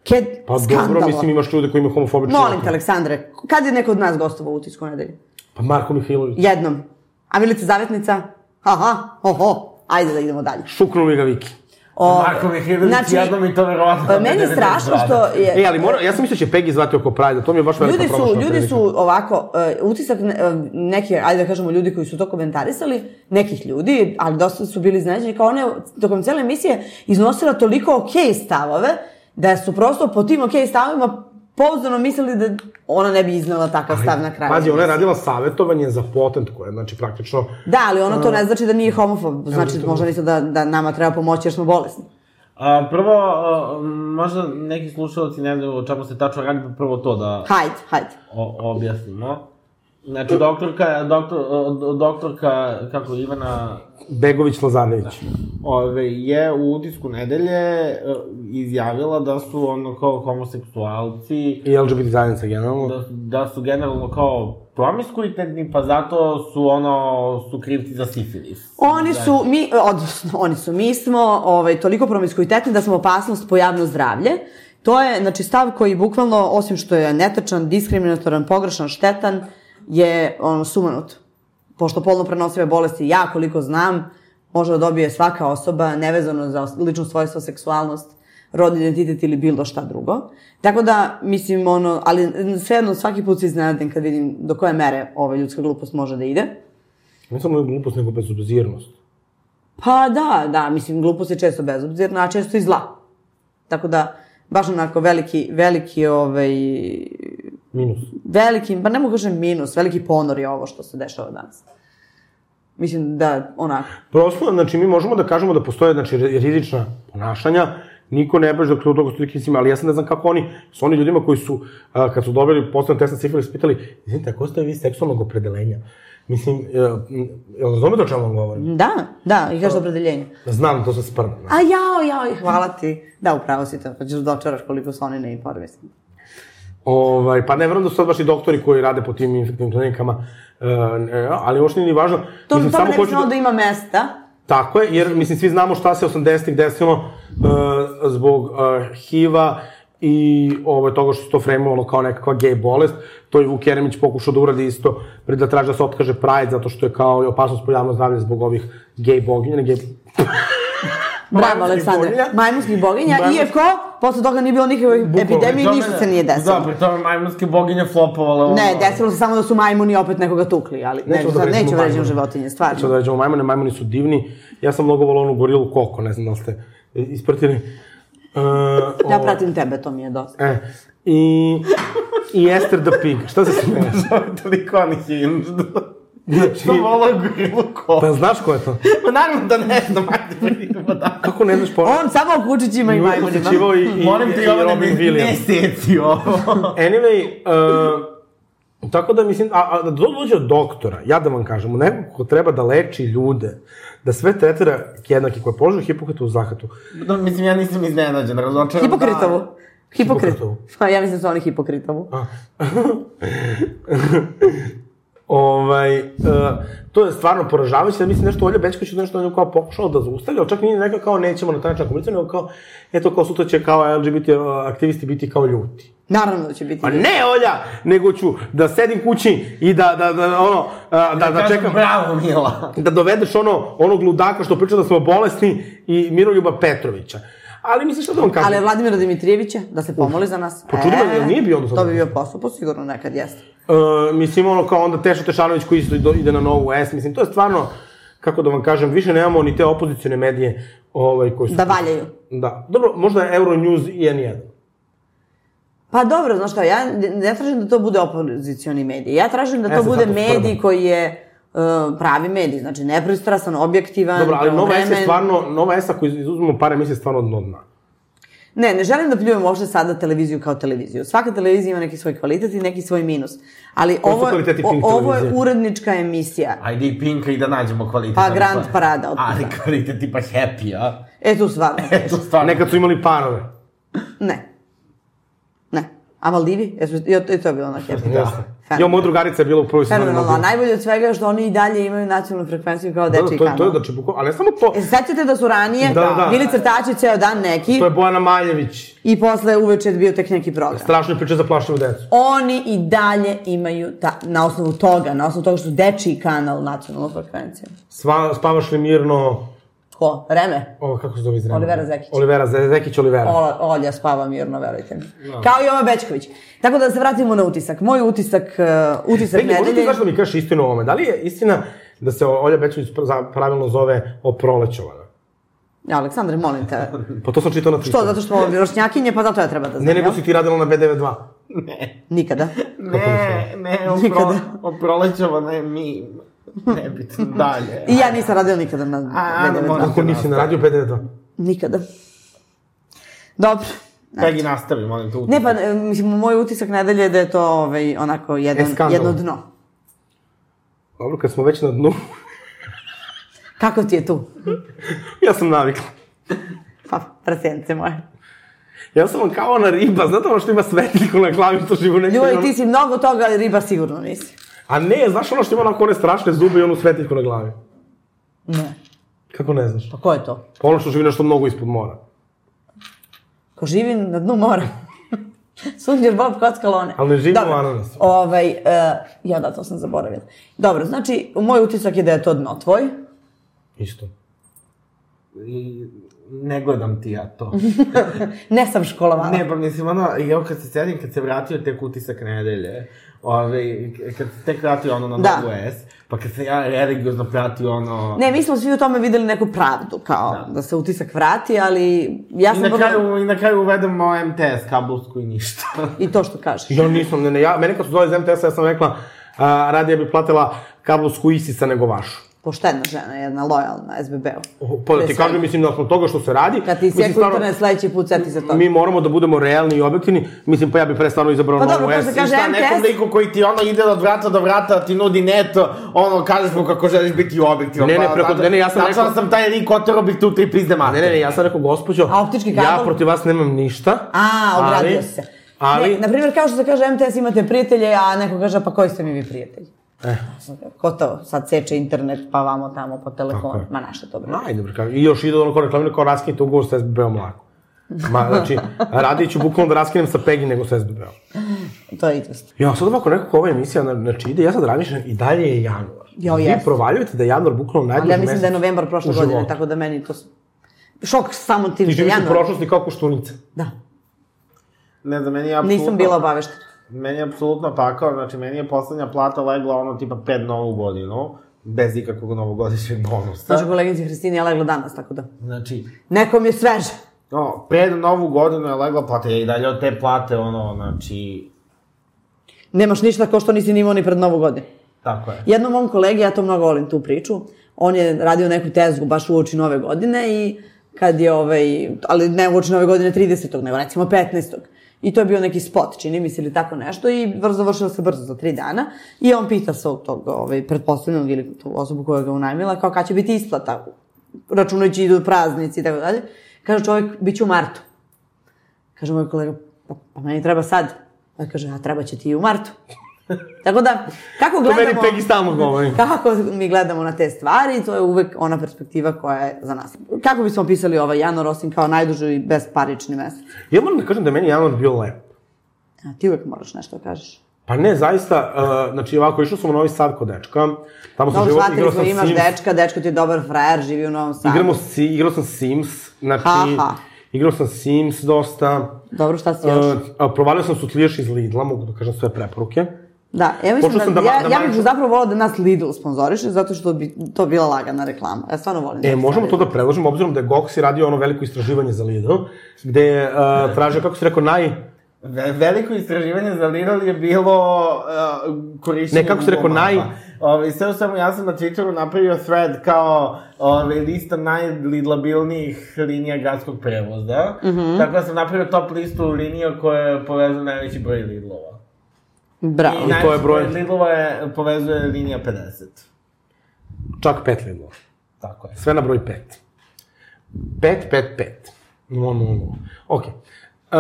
Speaker 4: Ked,
Speaker 1: Pa
Speaker 4: skandalo.
Speaker 1: dobro, mislim imaš ljude koji imaju homofobične.
Speaker 4: Molim te,
Speaker 1: naklade.
Speaker 4: Aleksandre, kad je neko od nas gostovao u utisku nedelje?
Speaker 1: Pa Marko Mihajlović.
Speaker 4: Jednom. A Milica Zavetnica? Aha, oho, ajde da idemo dalje.
Speaker 1: Šuknu mi ga Viki.
Speaker 4: O,
Speaker 5: Marko Mihajlović znači, jednom i to verovatno.
Speaker 4: pa meni je strašno što je...
Speaker 1: E, ali mora, ja sam mislio da će Peggy zvati oko Prajda, to mi je baš velika
Speaker 4: Ljudi su,
Speaker 1: promašena
Speaker 4: ljudi
Speaker 1: prilika.
Speaker 4: su ovako, e, utisak ne- e, neki, ajde da kažemo ljudi koji su to komentarisali, nekih ljudi, ali dosta su bili iznenađeni, kao ona je tokom cele emisije iznosila toliko okej stavove, da su prosto po tim okej stavovima pouzdano mislili da ona ne bi iznala takav stav na kraju.
Speaker 1: Pazi, ona je radila savjetovanje za patent koje, znači, praktično...
Speaker 4: Da, ali ono to ne znači da nije homofob, znači
Speaker 1: to-
Speaker 4: možda misle da, da nama treba pomoći jer smo bolesni.
Speaker 5: A, prvo, a, možda neki slušalci ne znaju o čemu se tačno radi, pa prvo to da
Speaker 4: Hajde, hajde.
Speaker 5: o, objasnimo. Znači, doktorka, doktor, o- doktorka, kako Ivana,
Speaker 1: Begović Lazarević.
Speaker 5: ove, je u utisku nedelje e, izjavila da su ono kao homoseksualci,
Speaker 1: I LGBT zajednica generalno.
Speaker 5: da, da su generalno kao promiskuitetni, pa zato su ono, su krivci za sifilis.
Speaker 4: Oni su, mi, odnosno, oni su, mi smo ovaj, toliko promiskuitetni da smo opasnost po javno zdravlje. To je, znači, stav koji bukvalno, osim što je netačan, diskriminatoran, pogrešan, štetan, je ono, sumanut. Pošto polno prenosive bolesti, ja koliko znam, može da dobije svaka osoba, nevezano za os- lično svojstvo, seksualnost, rodni identitet ili bilo šta drugo. Tako da, mislim, ono, ali svejedno svaki put se iznenadim kad vidim do koje mere ova ljudska glupost može da ide.
Speaker 1: Ne samo glupost, nego bezobzirnost.
Speaker 4: Pa da, da, mislim, glupost je često bezobzirna, a često i zla. Tako da, baš onako veliki, veliki, ovaj,
Speaker 1: Minus.
Speaker 4: veliki, pa ne mogu kažem minus, veliki ponor je ovo što se dešava danas. Mislim da, onako,
Speaker 1: Prosto, znači, mi možemo da kažemo da postoje, znači, ri- rizična ponašanja, niko ne baš dok to dok su neki mislim, ali ja sad ne znam kako oni, su oni ljudima koji su, a, kad su dobili postavljeno test na sifilis, pitali, izvinite, ako ste vi seksualnog opredelenja? Mislim, e, m, jel razumete o čemu vam govorim?
Speaker 4: da, da, i kažeš opredeljenje.
Speaker 1: Znam, to sam sprn.
Speaker 4: A jao, jao, i hvala ti. Da, upravo si to, kad ćeš dočaraš koliko su oni neinformisani.
Speaker 1: Ovaj, pa ne verujem da su sad baš i doktori koji rade po tim infektivnim klinikama, e, ne, ali uopšte nije ni važno.
Speaker 4: To, tome
Speaker 1: samo
Speaker 4: ne bi
Speaker 1: hoću
Speaker 4: znao da... ima mesta,
Speaker 1: Tako je, jer mislim svi znamo šta se 80-ih desilo uh, zbog uh, HIV-a i ovaj, toga što se to fremovalo kao nekakva gej bolest. To je Vuk Jeremić pokušao da uradi isto, pre da traži da se otkaže Pride, zato što je kao i opasnost po javno zdravlje zbog ovih gej boginja, ne gej...
Speaker 4: Bravo, Aleksandre.
Speaker 1: boginja.
Speaker 4: Majmunskih boginja,
Speaker 1: Majmunskih-
Speaker 4: iako posle toga nije bilo nikakve epidemije i ništa se nije desilo.
Speaker 5: Da, pri tome majmunske boginje flopovala. ono.
Speaker 4: Ne, desilo se samo da su majmuni opet nekoga tukli, ali neću,
Speaker 1: Nećemo da
Speaker 4: sad,
Speaker 1: vređamo
Speaker 4: neću vređam
Speaker 1: majmune.
Speaker 4: životinje, stvarno.
Speaker 1: Sad da ređemo majmune, majmuni su divni. Ja sam mnogo volao onu gorilu Koko, ne znam da li ste e, ispratili. Uh,
Speaker 4: Ja Da, pratim tebe, to mi je dosta.
Speaker 1: E, i, I Esther the Pig. Šta se smeješ?
Speaker 5: Toliko unhinged.
Speaker 1: Znači,
Speaker 5: Što volao gorilu ko?
Speaker 1: pa znaš ko je to?
Speaker 5: Ma naravno da ne znam, ajde vidimo da.
Speaker 1: Kako ne znaš po...
Speaker 4: On samo u kučićima i majmunima.
Speaker 1: Uključivao i, i,
Speaker 5: Molim ti
Speaker 1: i
Speaker 5: ovo
Speaker 1: Robin
Speaker 5: ne, ne
Speaker 1: Williams.
Speaker 5: seci ovo.
Speaker 1: Anyway, uh, tako da mislim, a, a da do- dođe od doktora, ja da vam kažem, nekog ko treba da leči ljude, da sve tretira jednake koje položaju Hipokratu u zahatu.
Speaker 5: Da, mislim, ja nisam iznenađen, razočaran.
Speaker 4: Hipokritovu. Hipokritovu.
Speaker 1: Da. Hipokritovu.
Speaker 4: Pa ja mislim da su oni hipokritovu.
Speaker 1: Ovaj, uh, to je stvarno poražavajuće, da mislim nešto Olja Bečković je nešto ono kao pokušao da zaustavi, ali čak nije neka kao nećemo na taj način komunicati, nego kao, eto kao sutra će kao LGBT e, aktivisti biti kao ljuti.
Speaker 4: Naravno da će biti.
Speaker 1: Pa ne, Olja, nego ću da sedim kući i da, da, da, ono, a, da, da čekam,
Speaker 5: Bravo, Mila.
Speaker 1: da dovedeš ono, onog ludaka što priča da smo bolesni i Miroljuba Petrovića. Ali mislim šta da vam kažem?
Speaker 4: Ali Vladimira Dimitrijevića, da se pomoli za nas. E,
Speaker 1: počudi me, jel nije bio onda
Speaker 4: To
Speaker 1: sad?
Speaker 4: bi bio posao, pa sigurno nekad jeste.
Speaker 1: E, mislim, ono kao onda Teša Tešanović koji isto ido- ide na novu S, mislim, to je stvarno, kako da vam kažem, više nemamo ni te opozicione medije ovaj, koji su...
Speaker 4: Da valjaju.
Speaker 1: Da. Dobro, možda je Euronews i N1.
Speaker 4: Pa dobro, znaš šta, ja ne tražim da to bude opozicioni medij. Ja tražim da
Speaker 1: E,
Speaker 4: to
Speaker 1: sad
Speaker 4: bude
Speaker 1: tako spremam.
Speaker 4: medij koji je uh, pravi medij, znači nepristrasan, objektivan,
Speaker 1: Dobro, ali Nova S je
Speaker 4: pravovremen.
Speaker 1: stvarno, Nova S ako izuzmemo pare emisije, je stvarno dno dna.
Speaker 4: Ne, ne želim da pljujem uopšte sada televiziju kao televiziju. Svaka televizija ima neki svoj kvalitet i neki svoj minus. Ali
Speaker 1: Koji su
Speaker 4: ovo, je-
Speaker 1: kvaliteti
Speaker 4: o,
Speaker 1: Pink
Speaker 4: ovo je
Speaker 1: televizije?
Speaker 4: urednička emisija.
Speaker 5: Ajde i Pinka i da nađemo kvalitetan.
Speaker 4: Pa Grand
Speaker 5: pa-
Speaker 4: Parada, otpušta.
Speaker 5: Ali kvalitet tipa Happy, a?
Speaker 4: E tu stvarno.
Speaker 5: Eto, stvarno.
Speaker 1: Nekad su imali parove.
Speaker 4: Ne. Ne. A Maldivi? Jesu, i, to, I to je bilo na happy.
Speaker 1: Da.
Speaker 4: Fenomenalno.
Speaker 1: Ja, moja drugarica je bila u prvoj sezoni.
Speaker 4: Fenomenalno. A
Speaker 1: Mobil.
Speaker 4: najbolje od svega je što oni i dalje imaju nacionalnu frekvenciju kao
Speaker 1: Da, da,
Speaker 4: dečiji
Speaker 1: to, je- to je
Speaker 4: kanal.
Speaker 1: znači bukvalno, ali ne samo to,
Speaker 4: E, se sećate da su ranije
Speaker 1: Da, da, da.
Speaker 4: bili crtači ceo dan neki
Speaker 1: to je Bojana Maljević,
Speaker 4: i posle uveče je bio tek neki program.
Speaker 1: strašno je priča za plašljivu decu.
Speaker 4: Oni i dalje imaju ta, na osnovu toga, na osnovu toga što su dečiji kanal nacionalnu frekvenciju.
Speaker 1: Sva, spavaš li mirno,
Speaker 4: Ko? Reme?
Speaker 1: o, kako se zove iz Rema?
Speaker 4: Olivera Zekić.
Speaker 1: Olivera Ze- Zekić, Olivera.
Speaker 4: Ola, Olja spava mirno, verujte mi. Kao i Ova Bečković. Tako da, se vratimo na utisak. Moj utisak, uh, utisak
Speaker 1: Peki, možda ti
Speaker 4: nedelje...
Speaker 1: znaš da mi kažeš istinu o ovome? Da li je istina da se Olja Bečević pra- za- pravilno zove oprolećovana?
Speaker 4: Aleksandre, molim te.
Speaker 1: Pa to sam čitao na Twitteru.
Speaker 4: Što, zato što smo rošnjakinje, pa zato ja treba da znam.
Speaker 1: Ne, nego
Speaker 4: jel?
Speaker 1: si ti radila na B92.
Speaker 4: Nikada. E,
Speaker 5: Ne, ne, opro,
Speaker 4: Nikada.
Speaker 5: oprolećovana je mi. Nebitno, Da, dalje.
Speaker 4: I ja nisam radila nikada na
Speaker 5: A, Ana,
Speaker 4: B92.
Speaker 5: molim.
Speaker 1: Ako nisi na radiju B92.
Speaker 4: Nikada. Dobro.
Speaker 5: Pegi, nastavi, molim te.
Speaker 4: Ne, pa, e, mislim, moj utisak nedelje je da je to ovaj, onako jedan,
Speaker 1: E, skandal.
Speaker 4: jedno dno.
Speaker 1: Dobro, kad smo već na dnu,
Speaker 4: Kako ti je tu?
Speaker 1: ja sam navikla.
Speaker 4: Pa, prasence moje.
Speaker 1: Ja sam vam kao ona riba, znate ono što ima svetiljku na glavi, što živu neće...
Speaker 4: Ljubav, ti si mnogo toga, ali riba sigurno nisi.
Speaker 1: A ne, znaš ono što ima onako one strašne zube i onu svetiljku na glavi?
Speaker 4: Ne.
Speaker 1: Kako ne znaš?
Speaker 4: Pa ko je to?
Speaker 1: Pa ono što živi nešto mnogo ispod mora.
Speaker 4: Ko živi na dnu mora. Sunđer Bob kockalone.
Speaker 1: Ali ne živi u ananasu.
Speaker 4: Ovaj, e, ja da, to sam zaboravila. Dobro, znači, moj utisak je da je to dno tvoj.
Speaker 1: Isto.
Speaker 5: I ne gledam ti ja
Speaker 4: Mhm.
Speaker 5: to.
Speaker 4: Ne sam školovala.
Speaker 5: Ne, pa mislim, ono, ja kad se sedim, kad se vratio tek utisak nedelje, ove, kad se tek vratio ono na
Speaker 4: Da.
Speaker 5: novu S, pa kad se ja religiozno pratio ono...
Speaker 4: Ne, mi smo svi u tome videli neku pravdu, kao da,
Speaker 5: Da.
Speaker 4: se utisak vrati, ali ja
Speaker 5: I
Speaker 4: sam...
Speaker 5: na,
Speaker 4: vrlo-
Speaker 5: kraju, I na kraju uvedemo MTS, kablovsku i ništa.
Speaker 4: I to što kažeš.
Speaker 1: Ja nisam, ne, ne, ja, mene kad su zvali iz MTS-a, ja sam rekla, a, radije bi platila kablovsku isica nego vašu.
Speaker 4: Poštena žena, jedna lojalna SBB-u.
Speaker 1: Pa da
Speaker 4: Pre
Speaker 1: ti
Speaker 4: svega.
Speaker 1: kažem, mislim, nakon toga što se radi...
Speaker 4: Kad Da ti
Speaker 1: mislim,
Speaker 4: sjeku
Speaker 1: stvarno,
Speaker 4: internet, sledeći put seti se to.
Speaker 1: Mi moramo da budemo realni i objektivni. Mislim, pa ja bih pre stvarno izabrao
Speaker 4: Pa
Speaker 1: Novu
Speaker 4: dobro, to se
Speaker 1: S.
Speaker 4: kaže
Speaker 5: Šta, nekom
Speaker 4: MTS,
Speaker 5: liku koji ti ono ide od vrata do vrata, ti nudi neto, ono, kažeš mu kako želiš biti objektivan.
Speaker 1: Ne, ne,
Speaker 5: pa,
Speaker 1: preko-
Speaker 5: zato-
Speaker 1: ne, ne, ja sam
Speaker 5: Tačno
Speaker 1: rekao-
Speaker 5: sam taj lik, otero bih tu tri pizde mate.
Speaker 1: Ne, ne, ne, ja sam rekao, gospođo,
Speaker 4: A optički
Speaker 1: ja
Speaker 4: kabel?
Speaker 1: protiv vas nemam ništa.
Speaker 4: A,
Speaker 1: ali-
Speaker 4: ogradio se.
Speaker 1: Ali,
Speaker 4: Ne, naprimjer, kao što se kaže MTS imate prijatelje, a neko kaže, pa koji ste mi vi prijatelji? Eh. Ko to sad seče internet, pa vamo tamo po telefonu? Ma naša to bre.
Speaker 1: Ajde, bre, kako- i još ide ono ko reklamira kao raskinite ugovor sa SBB-om lako. Ma, znači, radit ću bukvalno da raskinem sa Pegi nego sa SBB-om.
Speaker 4: To je idost.
Speaker 1: Ja, sad ovako nekako ova emisija, na- znači ide, ja sad razmišljam i dalje je januar.
Speaker 4: Jo,
Speaker 1: Vi
Speaker 4: jest.
Speaker 1: provaljujete da je januar bukvalno najbolji mesec.
Speaker 4: Ali ja mislim da je novembar prošle
Speaker 1: u
Speaker 4: godine,
Speaker 1: životu.
Speaker 4: tako da meni to... s- Šok samo tim
Speaker 1: Ti
Speaker 4: što
Speaker 1: živiš u
Speaker 4: januar.
Speaker 1: prošlosti kao koštunica.
Speaker 4: Da.
Speaker 5: Ne znam, meni je apsolutno...
Speaker 4: Nisam bila obaveštena.
Speaker 5: Meni je apsolutno pakao, znači meni je poslednja plata legla ono tipa pred novu godinu, bez ikakvog novogodišnjeg bonusa.
Speaker 4: Znači, koleginici Hristini je legla danas, tako da...
Speaker 5: Znači,
Speaker 4: Nekom je sveže.
Speaker 5: no, pred novu godinu je legla plata, ja i dalje od te plate, ono, znači,
Speaker 4: Nemaš ništa ko što nisi nimao ni pred novu godinu.
Speaker 5: tako je.
Speaker 4: Jednom mom kolegi, ja to mnogo volim tu priču, on je radio neku tezgu baš uoči nove godine i kad je ovaj, ali ne uoči nove godine 30. nego recimo 15. I to je bio neki spot, čini mi se, ili tako nešto i brzo završilo se brzo za tri dana. I on pita svog tog ovaj, pretpostavljenog ili tu osobu koja ga unajmila kao kad će biti isplata, računajući idu praznici i tako dalje. Kaže čovjek, bit će u martu. Kaže moj kolega, pa, pa meni treba sad. A kaže, a treba će ti i u martu. Tako da, kako
Speaker 1: To
Speaker 4: gledamo...
Speaker 1: meni Pegi stalno govori.
Speaker 4: Kako mi gledamo na te stvari, to je uvek ona perspektiva koja je za nas. Kako bismo opisali ovaj januar, osim kao najduži i besparični mesec?
Speaker 1: Ja moram da kažem da je meni januar bio lep.
Speaker 4: A, ti uvek moraš nešto da kažeš.
Speaker 1: Pa ne, zaista, uh, znači ovako, išao sam u Novi Sad kod dečka, tamo sam
Speaker 4: Dobro,
Speaker 1: živo,
Speaker 4: shvatili
Speaker 1: igrao
Speaker 4: smo,
Speaker 1: sam
Speaker 4: imaš
Speaker 1: Sims,
Speaker 4: dečka, da. dečko ti je dobar frajer, živi u Novom Sadu.
Speaker 1: igramo, si, igrao sam Sims, znači,
Speaker 4: Aha.
Speaker 1: igrao sam Sims dosta,
Speaker 4: Dobro, šta si još?
Speaker 1: uh, a, provalio sam sutlijaš iz Lidla, mogu da kažem sve preporuke.
Speaker 4: da, ja
Speaker 1: počeo
Speaker 4: mislim
Speaker 1: sam da
Speaker 4: da,
Speaker 1: ma-
Speaker 4: ja,
Speaker 1: da
Speaker 4: ja bih
Speaker 1: manjšam-
Speaker 4: zapravo volao da nas Lidl sponzoriše, zato što bi to bila lagana reklama. Ja stvarno volim.
Speaker 1: E,
Speaker 4: te
Speaker 1: možemo to
Speaker 4: stvari.
Speaker 1: da predložimo, obzirom da je Goksi radio ono veliko istraživanje za Lidl, gde je uh, tražio, kako si rekao, naj...
Speaker 5: Ve veliko istraživanje za Lidl je bilo uh, korišćenje...
Speaker 1: Ne, kako se rekao,
Speaker 5: Google
Speaker 1: naj-
Speaker 5: mapa. Ove, sve u svemu, ja sam na Twitteru napravio thread kao ove, lista najlidlabilnijih linija gradskog prevoza. Mm -hmm.
Speaker 1: Mhm.
Speaker 5: Tako da sam napravio top listu linija koje povezuju najveći broj Lidlova.
Speaker 4: Bravo.
Speaker 1: I to je broj?
Speaker 5: Lidlova je, povezuje linija 50.
Speaker 1: Čak pet Lidlova.
Speaker 5: Tako je.
Speaker 1: Sve na broj 5. 5, 5, 5. No, no, no. Ok. Uh,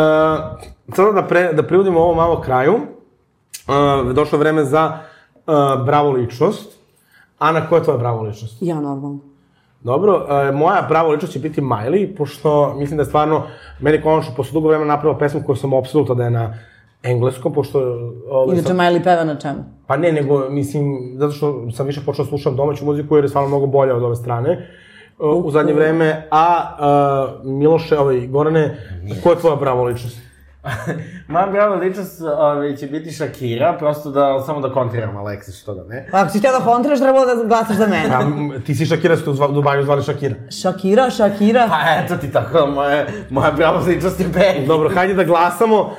Speaker 1: sada da, pre, da privodimo ovo malo kraju. Uh, došlo je vreme za uh, bravo ličnost. Ana, koja je tvoja bravo ličnost?
Speaker 4: Ja normalno.
Speaker 1: Dobro, uh, moja bravo ličnost će biti Miley, pošto mislim da je stvarno, meni je konačno posle dugo vremena napravila pesmu koju sam apsolutno da je na engleskom, pošto... Ovaj,
Speaker 4: Inače, Miley peva na čemu?
Speaker 1: Pa ne, nego, mislim, zato što sam više počeo da slušam domaću muziku jer je stvarno mnogo bolja od ove strane uh, u zadnje vreme. A uh, Miloše, ovaj, Gorane, ko je tvoja bravo ličnost?
Speaker 5: Moja brava ličnost ove, ovaj, će biti Shakira, prosto da, samo da kontriram Aleksi, što da ne.
Speaker 4: Ako si htjela da kontraš, trebalo da glasaš za
Speaker 1: A,
Speaker 4: mene.
Speaker 1: m, ti si Shakira, ste u zva- Dubaju zvali Shakira.
Speaker 4: Shakira, Shakira.
Speaker 5: Pa eto ti tako, moja, moja brava ličnost je Benny.
Speaker 1: Dobro, hajde da glasamo. Uh,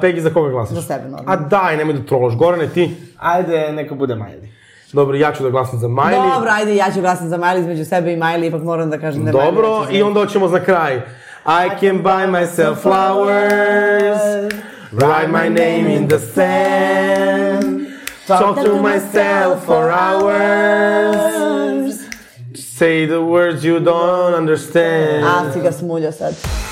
Speaker 1: Pegi, za koga glasaš?
Speaker 4: Za sebe, normalno.
Speaker 1: A daj, nemoj da trolaš. Gorane, ti?
Speaker 5: Ajde, neka bude Miley.
Speaker 1: Dobro, ja ću da glasam za Miley.
Speaker 4: Dobro, ajde, ja ću glasati za Miley između sebe i Miley, ipak moram da
Speaker 1: да
Speaker 4: kažem da je Miley
Speaker 1: Dobro,
Speaker 4: veća
Speaker 1: i onda ćemo za kraj. I can buy myself flowers, write my name in the sand, talk to значи, myself for hours, say the words you don't understand.
Speaker 4: A, si ga smuljao sad.